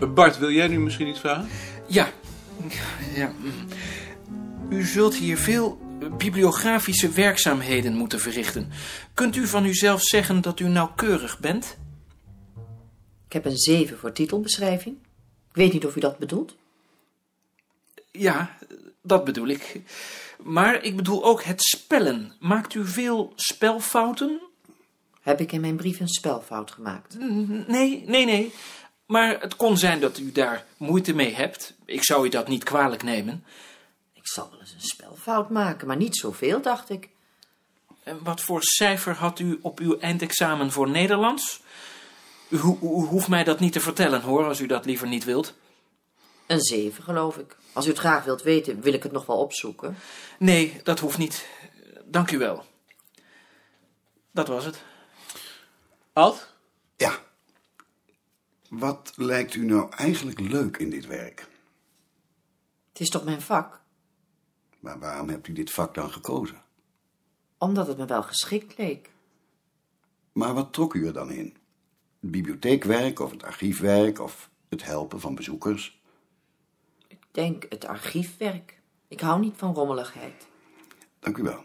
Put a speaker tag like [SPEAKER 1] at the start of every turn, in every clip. [SPEAKER 1] Eh, Bart, wil jij nu misschien iets vragen?
[SPEAKER 2] Ja. ja. mm. U zult hier veel bibliografische werkzaamheden moeten verrichten. Kunt u van uzelf zeggen dat u nauwkeurig bent?
[SPEAKER 3] Ik heb een 7 voor titelbeschrijving. Ik weet niet of u dat bedoelt.
[SPEAKER 2] Ja, dat bedoel ik. Maar ik bedoel ook het spellen. Maakt u veel spelfouten?
[SPEAKER 3] Heb ik in mijn brief een spelfout gemaakt?
[SPEAKER 2] Nee, nee, nee. Maar het kon zijn dat u daar moeite mee hebt. Ik zou u dat niet kwalijk nemen.
[SPEAKER 3] Ik zal wel eens een spelfout maken, maar niet zoveel, dacht ik.
[SPEAKER 2] En wat voor cijfer had u op uw eindexamen voor Nederlands? U, ho- u hoeft mij dat niet te vertellen hoor, als u dat liever niet wilt.
[SPEAKER 3] Een 7, geloof ik. Als u het graag wilt weten, wil ik het nog wel opzoeken.
[SPEAKER 2] Nee, dat hoeft niet. Dank u wel. Dat was het.
[SPEAKER 1] Ad?
[SPEAKER 4] Ja. Wat lijkt u nou eigenlijk leuk in dit werk?
[SPEAKER 3] Het is toch mijn vak?
[SPEAKER 4] Maar waarom hebt u dit vak dan gekozen?
[SPEAKER 3] Omdat het me wel geschikt leek.
[SPEAKER 4] Maar wat trok u er dan in? Het bibliotheekwerk of het archiefwerk of het helpen van bezoekers?
[SPEAKER 3] Ik denk het archiefwerk. Ik hou niet van rommeligheid.
[SPEAKER 4] Dank u wel.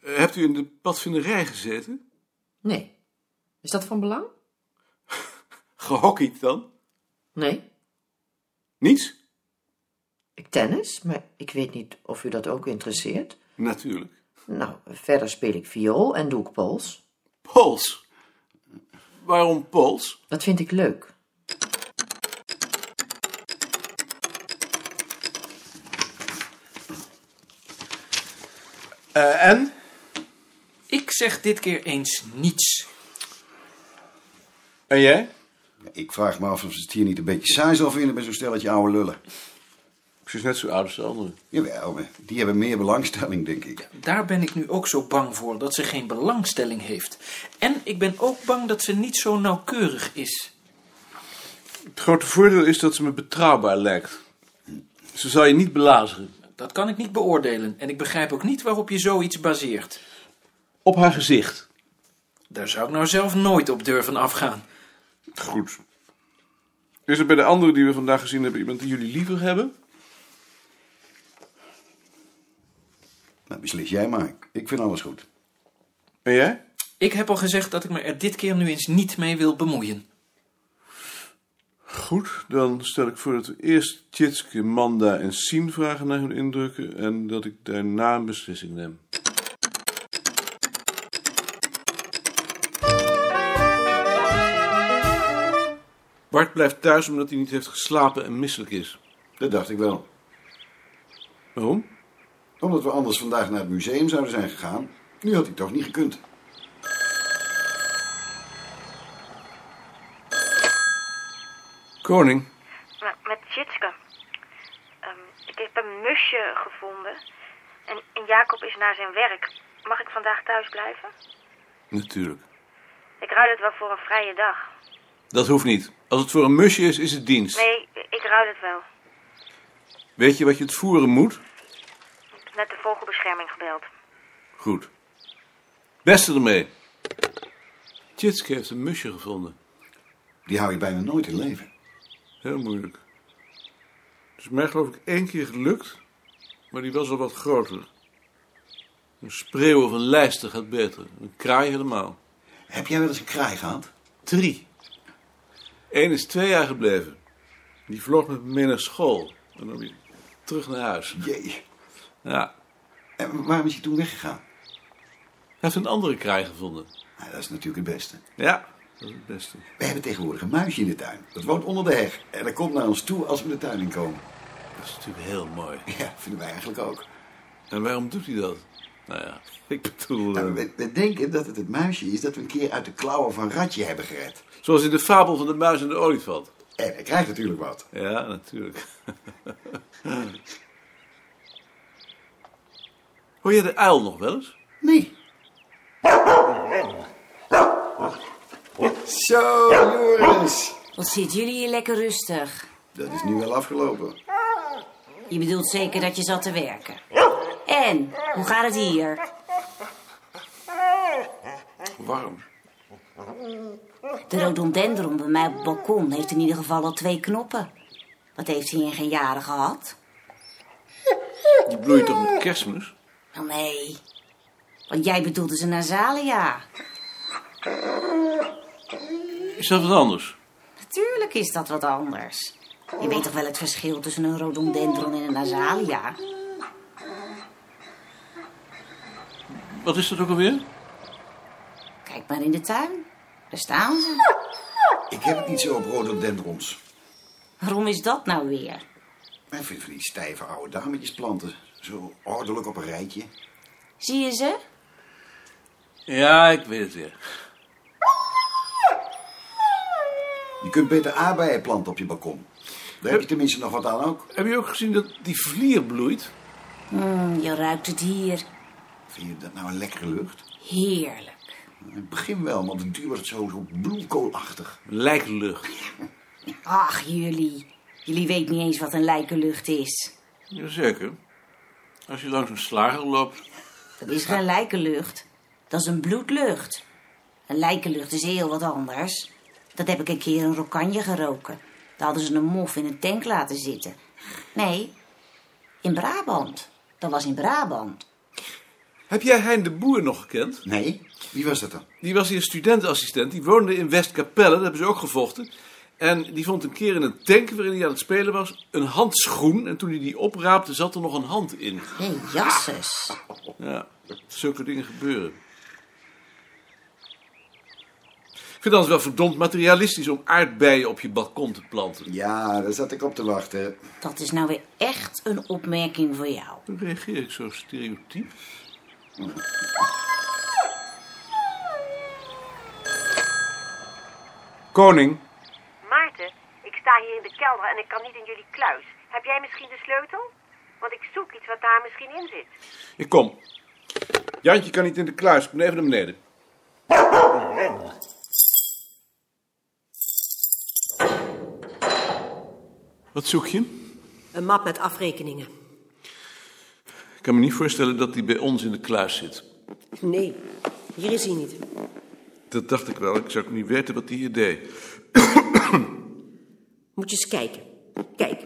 [SPEAKER 1] Eh, Hebt u in de padvinderij gezeten?
[SPEAKER 3] Nee. Is dat van belang?
[SPEAKER 1] Gehockeyd dan?
[SPEAKER 3] Nee.
[SPEAKER 1] Niets?
[SPEAKER 3] Ik tennis, maar ik weet niet of u dat ook interesseert.
[SPEAKER 1] Natuurlijk.
[SPEAKER 3] Nou, verder speel ik viool en doe ik pols.
[SPEAKER 1] Pools. Waarom Pools?
[SPEAKER 3] Dat vind ik leuk.
[SPEAKER 1] Eh, en?
[SPEAKER 2] Ik zeg dit keer eens niets.
[SPEAKER 1] En jij?
[SPEAKER 4] Ja, Ik vraag me af of ze het hier niet een beetje saai zal vinden bij zo'n stelletje oude lullen.
[SPEAKER 1] Precies net zo oud als de anderen.
[SPEAKER 4] Jawel, maar die hebben meer belangstelling, denk ik.
[SPEAKER 2] Daar ben ik nu ook zo bang voor, dat ze geen belangstelling heeft. En ik ben ook bang dat ze niet zo nauwkeurig is.
[SPEAKER 1] Het grote voordeel is dat ze me betrouwbaar lijkt. Ze zal je niet belazeren.
[SPEAKER 2] Dat kan ik niet beoordelen en ik begrijp ook niet waarop je zoiets baseert.
[SPEAKER 1] Op haar gezicht.
[SPEAKER 2] Daar zou ik nou zelf nooit op durven afgaan.
[SPEAKER 1] Goed. Is er bij de anderen die we vandaag gezien hebben iemand die jullie liever hebben?
[SPEAKER 4] Nou, beslis jij maar. Ik vind alles goed.
[SPEAKER 1] En jij?
[SPEAKER 2] Ik heb al gezegd dat ik me er dit keer nu eens niet mee wil bemoeien.
[SPEAKER 1] Goed, dan stel ik voor dat we eerst Tjitske, Manda en Sien vragen naar hun indrukken en dat ik daarna een beslissing neem. Bart blijft thuis omdat hij niet heeft geslapen en misselijk is.
[SPEAKER 4] Dat dacht ik wel.
[SPEAKER 1] Waarom?
[SPEAKER 4] Omdat we anders vandaag naar het museum zouden zijn gegaan. Nu had ik toch niet gekund.
[SPEAKER 1] Koning.
[SPEAKER 5] Maar met Jitske. Ehm, ik heb een musje gevonden. En, en Jacob is naar zijn werk. Mag ik vandaag thuis blijven?
[SPEAKER 1] Natuurlijk.
[SPEAKER 5] Ik ruil het wel voor een vrije dag.
[SPEAKER 1] Dat hoeft niet. Als het voor een musje is, is het dienst.
[SPEAKER 5] Nee, ik ruil het wel.
[SPEAKER 1] Weet je wat je het voeren moet?
[SPEAKER 5] Ik heb net de vogelbescherming gebeld.
[SPEAKER 1] Goed. Beste ermee. Tjitske heeft een musje gevonden.
[SPEAKER 4] Die hou je bijna nooit in leven.
[SPEAKER 1] Heel moeilijk. Het is mij geloof ik één keer gelukt, maar die was al wat groter. Een spreeuw of een lijster gaat beter. Een kraai helemaal.
[SPEAKER 4] Heb jij wel eens een kraai gehad?
[SPEAKER 1] Drie. Eén is twee jaar gebleven. Die vloog met me mee naar school. En dan weer terug naar huis.
[SPEAKER 4] Jee.
[SPEAKER 1] Ja,
[SPEAKER 4] En waarom is hij toen weggegaan?
[SPEAKER 1] hij heeft een andere kraai gevonden.
[SPEAKER 4] Nou, dat is natuurlijk het beste.
[SPEAKER 1] Ja, dat is het beste.
[SPEAKER 4] We hebben tegenwoordig een muisje in de tuin. Dat woont onder de heg. En dat komt naar ons toe als we de tuin in komen.
[SPEAKER 1] Dat is natuurlijk heel mooi.
[SPEAKER 4] Ja, vinden wij eigenlijk ook.
[SPEAKER 1] En waarom doet hij dat? Nou ja, ik bedoel...
[SPEAKER 4] Nou,
[SPEAKER 1] eh,
[SPEAKER 4] we, we denken dat het het muisje is dat we een keer uit de klauwen van Ratje hebben gered.
[SPEAKER 1] Zoals in de fabel van de muis en de olifant.
[SPEAKER 4] En hij krijgt natuurlijk wat.
[SPEAKER 1] Ja, natuurlijk. Hoor je de uil nog wel eens?
[SPEAKER 4] Nee. Zo, Joris.
[SPEAKER 6] Wat zitten jullie hier lekker rustig?
[SPEAKER 4] Dat is nu wel afgelopen.
[SPEAKER 6] Je bedoelt zeker dat je zat te werken. En, hoe gaat het hier?
[SPEAKER 1] Warm.
[SPEAKER 6] De rhododendron bij mij op het balkon heeft in ieder geval al twee knoppen. Wat heeft hij in geen jaren gehad?
[SPEAKER 1] Die bloeit toch met kerstmis?
[SPEAKER 6] Wel Nou, nee. Want jij bedoelde ze nasalia.
[SPEAKER 1] Is dat wat anders?
[SPEAKER 6] Natuurlijk is dat wat anders. Je weet toch wel het verschil tussen een rhododendron en een nasalia?
[SPEAKER 1] Wat is dat ook alweer?
[SPEAKER 6] Kijk maar in de tuin. Daar staan ze.
[SPEAKER 4] Ik heb het niet zo op rhododendrons.
[SPEAKER 6] Waarom is dat nou weer?
[SPEAKER 4] Ik vind van die stijve oude dametjes planten. Zo ordelijk op een rijtje.
[SPEAKER 6] Zie je ze?
[SPEAKER 1] Ja, ik weet het weer.
[SPEAKER 4] Je kunt beter aardbeien planten op je balkon. Daar heb je tenminste nog wat aan ook.
[SPEAKER 1] Heb je ook gezien dat die vlier bloeit?
[SPEAKER 6] Mm, je ruikt het hier.
[SPEAKER 4] Vind je dat nou een lekkere lucht?
[SPEAKER 6] Heerlijk.
[SPEAKER 4] In het begin wel, want het duurt zo, zo bloemkoolachtig.
[SPEAKER 1] Lijklucht.
[SPEAKER 6] Ach, jullie. Jullie weten niet eens wat een lijkenlucht is.
[SPEAKER 1] Jazeker. Als je langs een slager loopt.
[SPEAKER 6] Dat is geen lijkenlucht. Dat is een bloedlucht. Een lijkenlucht is heel wat anders. Dat heb ik een keer een rokanje geroken. Daar hadden ze een mof in een tank laten zitten. Nee, in Brabant. Dat was in Brabant.
[SPEAKER 1] Heb jij Hein de Boer nog gekend?
[SPEAKER 4] Nee? Wie was dat dan?
[SPEAKER 1] Die was hier studentenassistent. Die woonde in Westkapelle. Daar hebben ze ook gevochten. En die vond een keer in een tank waarin hij aan het spelen was een handschoen. En toen hij die opraapte zat er nog een hand in.
[SPEAKER 6] Hé, jasses.
[SPEAKER 1] Ja, zulke dingen gebeuren. Ik vind het anders wel verdomd materialistisch om aardbeien op je balkon te planten.
[SPEAKER 4] Ja, daar zat ik op te wachten.
[SPEAKER 6] Dat is nou weer echt een opmerking voor jou.
[SPEAKER 1] Hoe reageer ik zo stereotyp?
[SPEAKER 7] Koning,
[SPEAKER 5] Maarten, ik sta hier in de kelder en ik kan niet in jullie kluis. Heb jij misschien de sleutel? Want ik zoek iets wat daar misschien in zit.
[SPEAKER 7] ik kom. Jantje kan niet in de kluis, ik moet even naar beneden.
[SPEAKER 1] Wat zoek je?
[SPEAKER 8] Een map met afrekeningen.
[SPEAKER 1] Ik kan me niet voorstellen dat die bij ons in de kluis zit.
[SPEAKER 8] Nee, hier is hij niet.
[SPEAKER 1] Dat dacht ik wel. Ik zou ook niet weten wat die hier deed.
[SPEAKER 8] Moet je eens kijken. Kijk,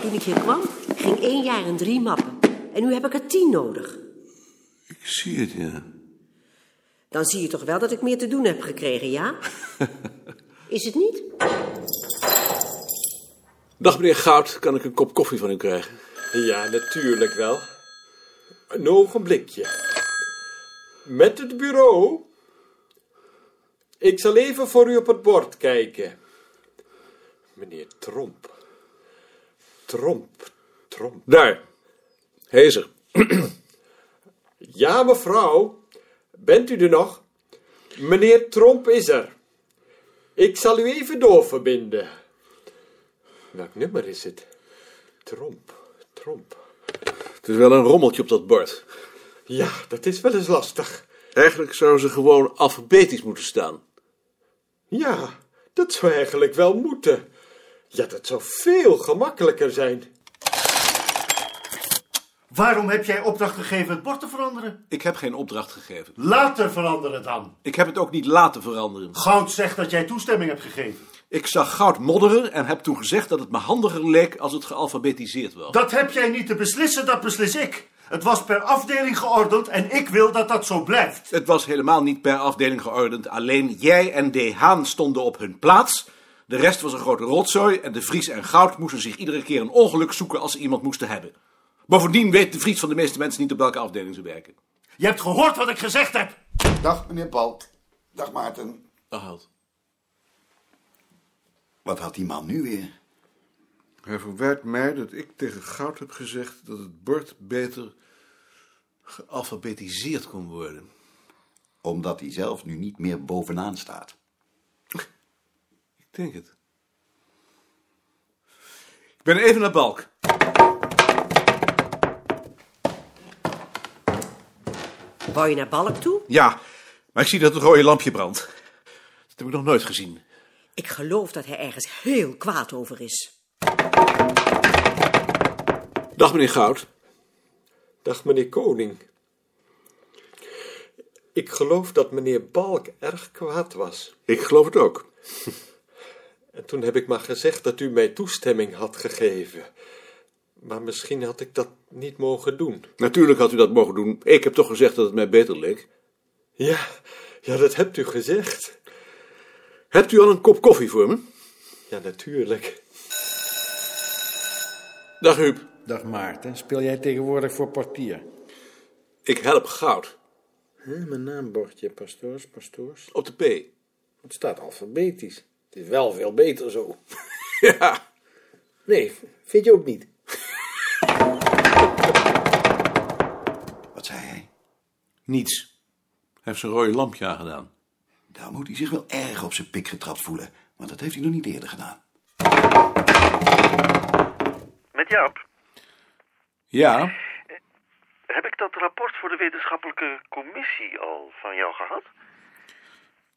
[SPEAKER 8] toen ik hier kwam, ging één jaar en drie mappen. En nu heb ik er tien nodig.
[SPEAKER 1] Ik zie het, ja.
[SPEAKER 8] Dan zie je toch wel dat ik meer te doen heb gekregen, ja? Is het niet?
[SPEAKER 1] Dag meneer Goud, kan ik een kop koffie van u krijgen?
[SPEAKER 9] Ja, natuurlijk wel. Een ogenblikje. Met het bureau. Ik zal even voor u op het bord kijken. Meneer Tromp. Tromp, Tromp.
[SPEAKER 7] Daar, Hezer.
[SPEAKER 9] Ja, mevrouw. Bent u er nog? Meneer Tromp is er. Ik zal u even doorverbinden. Welk nummer is het? Tromp, Tromp.
[SPEAKER 1] Het is wel een rommeltje op dat bord.
[SPEAKER 9] Ja, dat is wel eens lastig.
[SPEAKER 1] Eigenlijk zouden ze gewoon alfabetisch moeten staan.
[SPEAKER 9] Ja, dat zou eigenlijk wel moeten. Ja, dat zou veel gemakkelijker zijn.
[SPEAKER 10] Waarom heb jij opdracht gegeven het bord te veranderen?
[SPEAKER 1] Ik heb geen opdracht gegeven.
[SPEAKER 10] Later veranderen dan.
[SPEAKER 1] Ik heb het ook niet laten veranderen.
[SPEAKER 10] Goud zegt dat jij toestemming hebt gegeven.
[SPEAKER 1] Ik zag goud modderen en heb toen gezegd dat het me handiger leek als het gealfabetiseerd was.
[SPEAKER 10] Dat heb jij niet te beslissen, dat beslis ik. Het was per afdeling geordend en ik wil dat dat zo blijft.
[SPEAKER 1] Het was helemaal niet per afdeling geordend. Alleen jij en De Haan stonden op hun plaats. De rest was een grote rotzooi en De Vries en Goud moesten zich iedere keer een ongeluk zoeken als ze iemand moesten hebben. Bovendien weet De Vries van de meeste mensen niet op welke afdeling ze werken.
[SPEAKER 10] Je hebt gehoord wat ik gezegd heb.
[SPEAKER 4] Dag, meneer Palt. Dag, Maarten.
[SPEAKER 1] Goud.
[SPEAKER 4] Wat had die man nu weer?
[SPEAKER 7] Hij verwijt mij dat ik tegen Goud heb gezegd dat het bord beter...
[SPEAKER 1] Gealfabetiseerd kon worden.
[SPEAKER 4] Omdat hij zelf nu niet meer bovenaan staat.
[SPEAKER 1] Ik denk het. Ik ben even naar Balk.
[SPEAKER 8] Wou je naar Balk toe?
[SPEAKER 1] Ja, maar ik zie dat het rode lampje brandt. Dat heb ik nog nooit gezien.
[SPEAKER 8] Ik geloof dat hij ergens heel kwaad over is.
[SPEAKER 1] Dag meneer Goud.
[SPEAKER 9] Dag meneer Koning. Ik geloof dat meneer Balk erg kwaad was.
[SPEAKER 1] Ik geloof het ook.
[SPEAKER 9] En toen heb ik maar gezegd dat u mij toestemming had gegeven. Maar misschien had ik dat niet mogen doen.
[SPEAKER 1] Natuurlijk had u dat mogen doen. Ik heb toch gezegd dat het mij beter leek.
[SPEAKER 9] Ja, ja, dat hebt u gezegd.
[SPEAKER 1] Hebt u al een kop koffie voor me?
[SPEAKER 9] Ja, natuurlijk.
[SPEAKER 1] Dag Huub.
[SPEAKER 11] Dag Maarten. Speel jij tegenwoordig voor portier?
[SPEAKER 1] Ik help goud.
[SPEAKER 11] Huh, mijn naambordje, pastoors, pastoors.
[SPEAKER 1] Op de P.
[SPEAKER 11] Het staat alfabetisch. Het is wel veel beter zo.
[SPEAKER 1] ja.
[SPEAKER 11] Nee, vind je ook niet?
[SPEAKER 4] Wat zei hij?
[SPEAKER 1] Niets. Hij heeft zijn rode lampje aangedaan.
[SPEAKER 4] Daar moet hij zich wel erg op zijn pik getrapt voelen. Want dat heeft hij nog niet eerder gedaan.
[SPEAKER 12] Met Jaap,
[SPEAKER 1] Ja,
[SPEAKER 12] Eh, heb ik dat rapport voor de wetenschappelijke commissie al van jou gehad?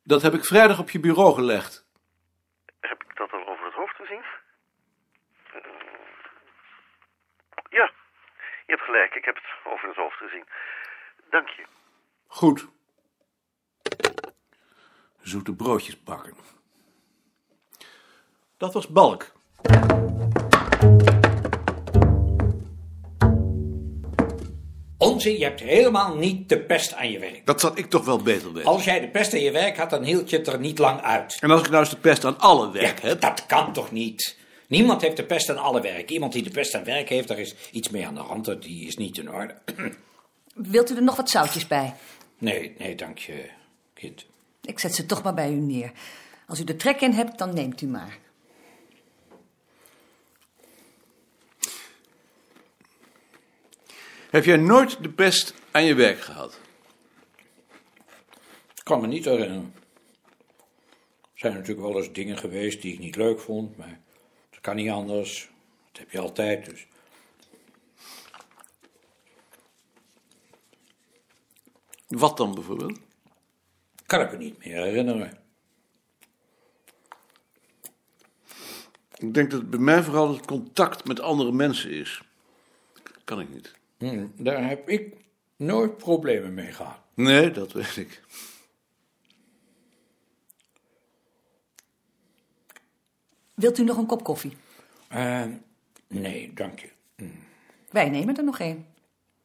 [SPEAKER 1] dat heb ik vrijdag op je bureau gelegd.
[SPEAKER 12] Heb ik dat al over het hoofd gezien? Eh, Ja, je hebt gelijk, ik heb het over het hoofd gezien. Dank je.
[SPEAKER 1] Goed. Zoete broodjes bakken. Dat was Balk.
[SPEAKER 2] Onzin, je hebt helemaal niet de pest aan je werk.
[SPEAKER 1] Dat zat ik toch wel beter weten.
[SPEAKER 2] Als jij de pest aan je werk had, dan hield je het er niet lang uit.
[SPEAKER 1] En als ik nou eens de pest aan alle werk heb...
[SPEAKER 2] Dat kan toch niet? Niemand heeft de pest aan alle werk. Iemand die de pest aan werk heeft, daar is iets mee aan de hand. dat- Die is niet in orde.
[SPEAKER 6] Wilt u er nog wat zoutjes bij?
[SPEAKER 2] Nee, nee, dank je, kind.
[SPEAKER 6] Ik zet ze toch maar bij u neer. Als u er trek in hebt, dan neemt u maar.
[SPEAKER 1] Heb jij nooit de pest aan je werk gehad?
[SPEAKER 2] Ik kan me niet herinneren. Er zijn natuurlijk wel eens dingen geweest die ik niet leuk vond, maar dat kan niet anders. Dat heb je altijd, dus.
[SPEAKER 1] Wat dan bijvoorbeeld?
[SPEAKER 2] Kan ik me niet meer herinneren.
[SPEAKER 1] Ik denk dat het bij mij vooral het contact met andere mensen is. Kan ik niet.
[SPEAKER 2] Hm, daar heb ik nooit problemen mee gehad.
[SPEAKER 1] Nee, dat weet ik.
[SPEAKER 6] Wilt u nog een kop koffie?
[SPEAKER 2] Eh, nee, dank je.
[SPEAKER 6] Wij nemen er nog een.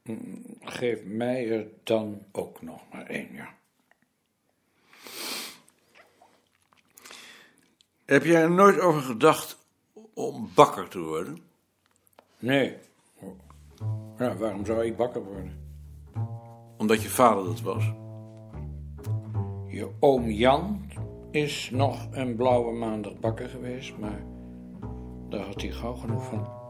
[SPEAKER 2] Hm, Geef mij er dan ook nog maar één, ja.
[SPEAKER 1] Heb jij er nooit over gedacht om bakker te worden?
[SPEAKER 2] Nee. Ja, waarom zou ik bakker worden?
[SPEAKER 1] Omdat je vader dat was.
[SPEAKER 2] Je oom Jan is nog een blauwe maandag bakker geweest, maar daar had hij gauw genoeg van.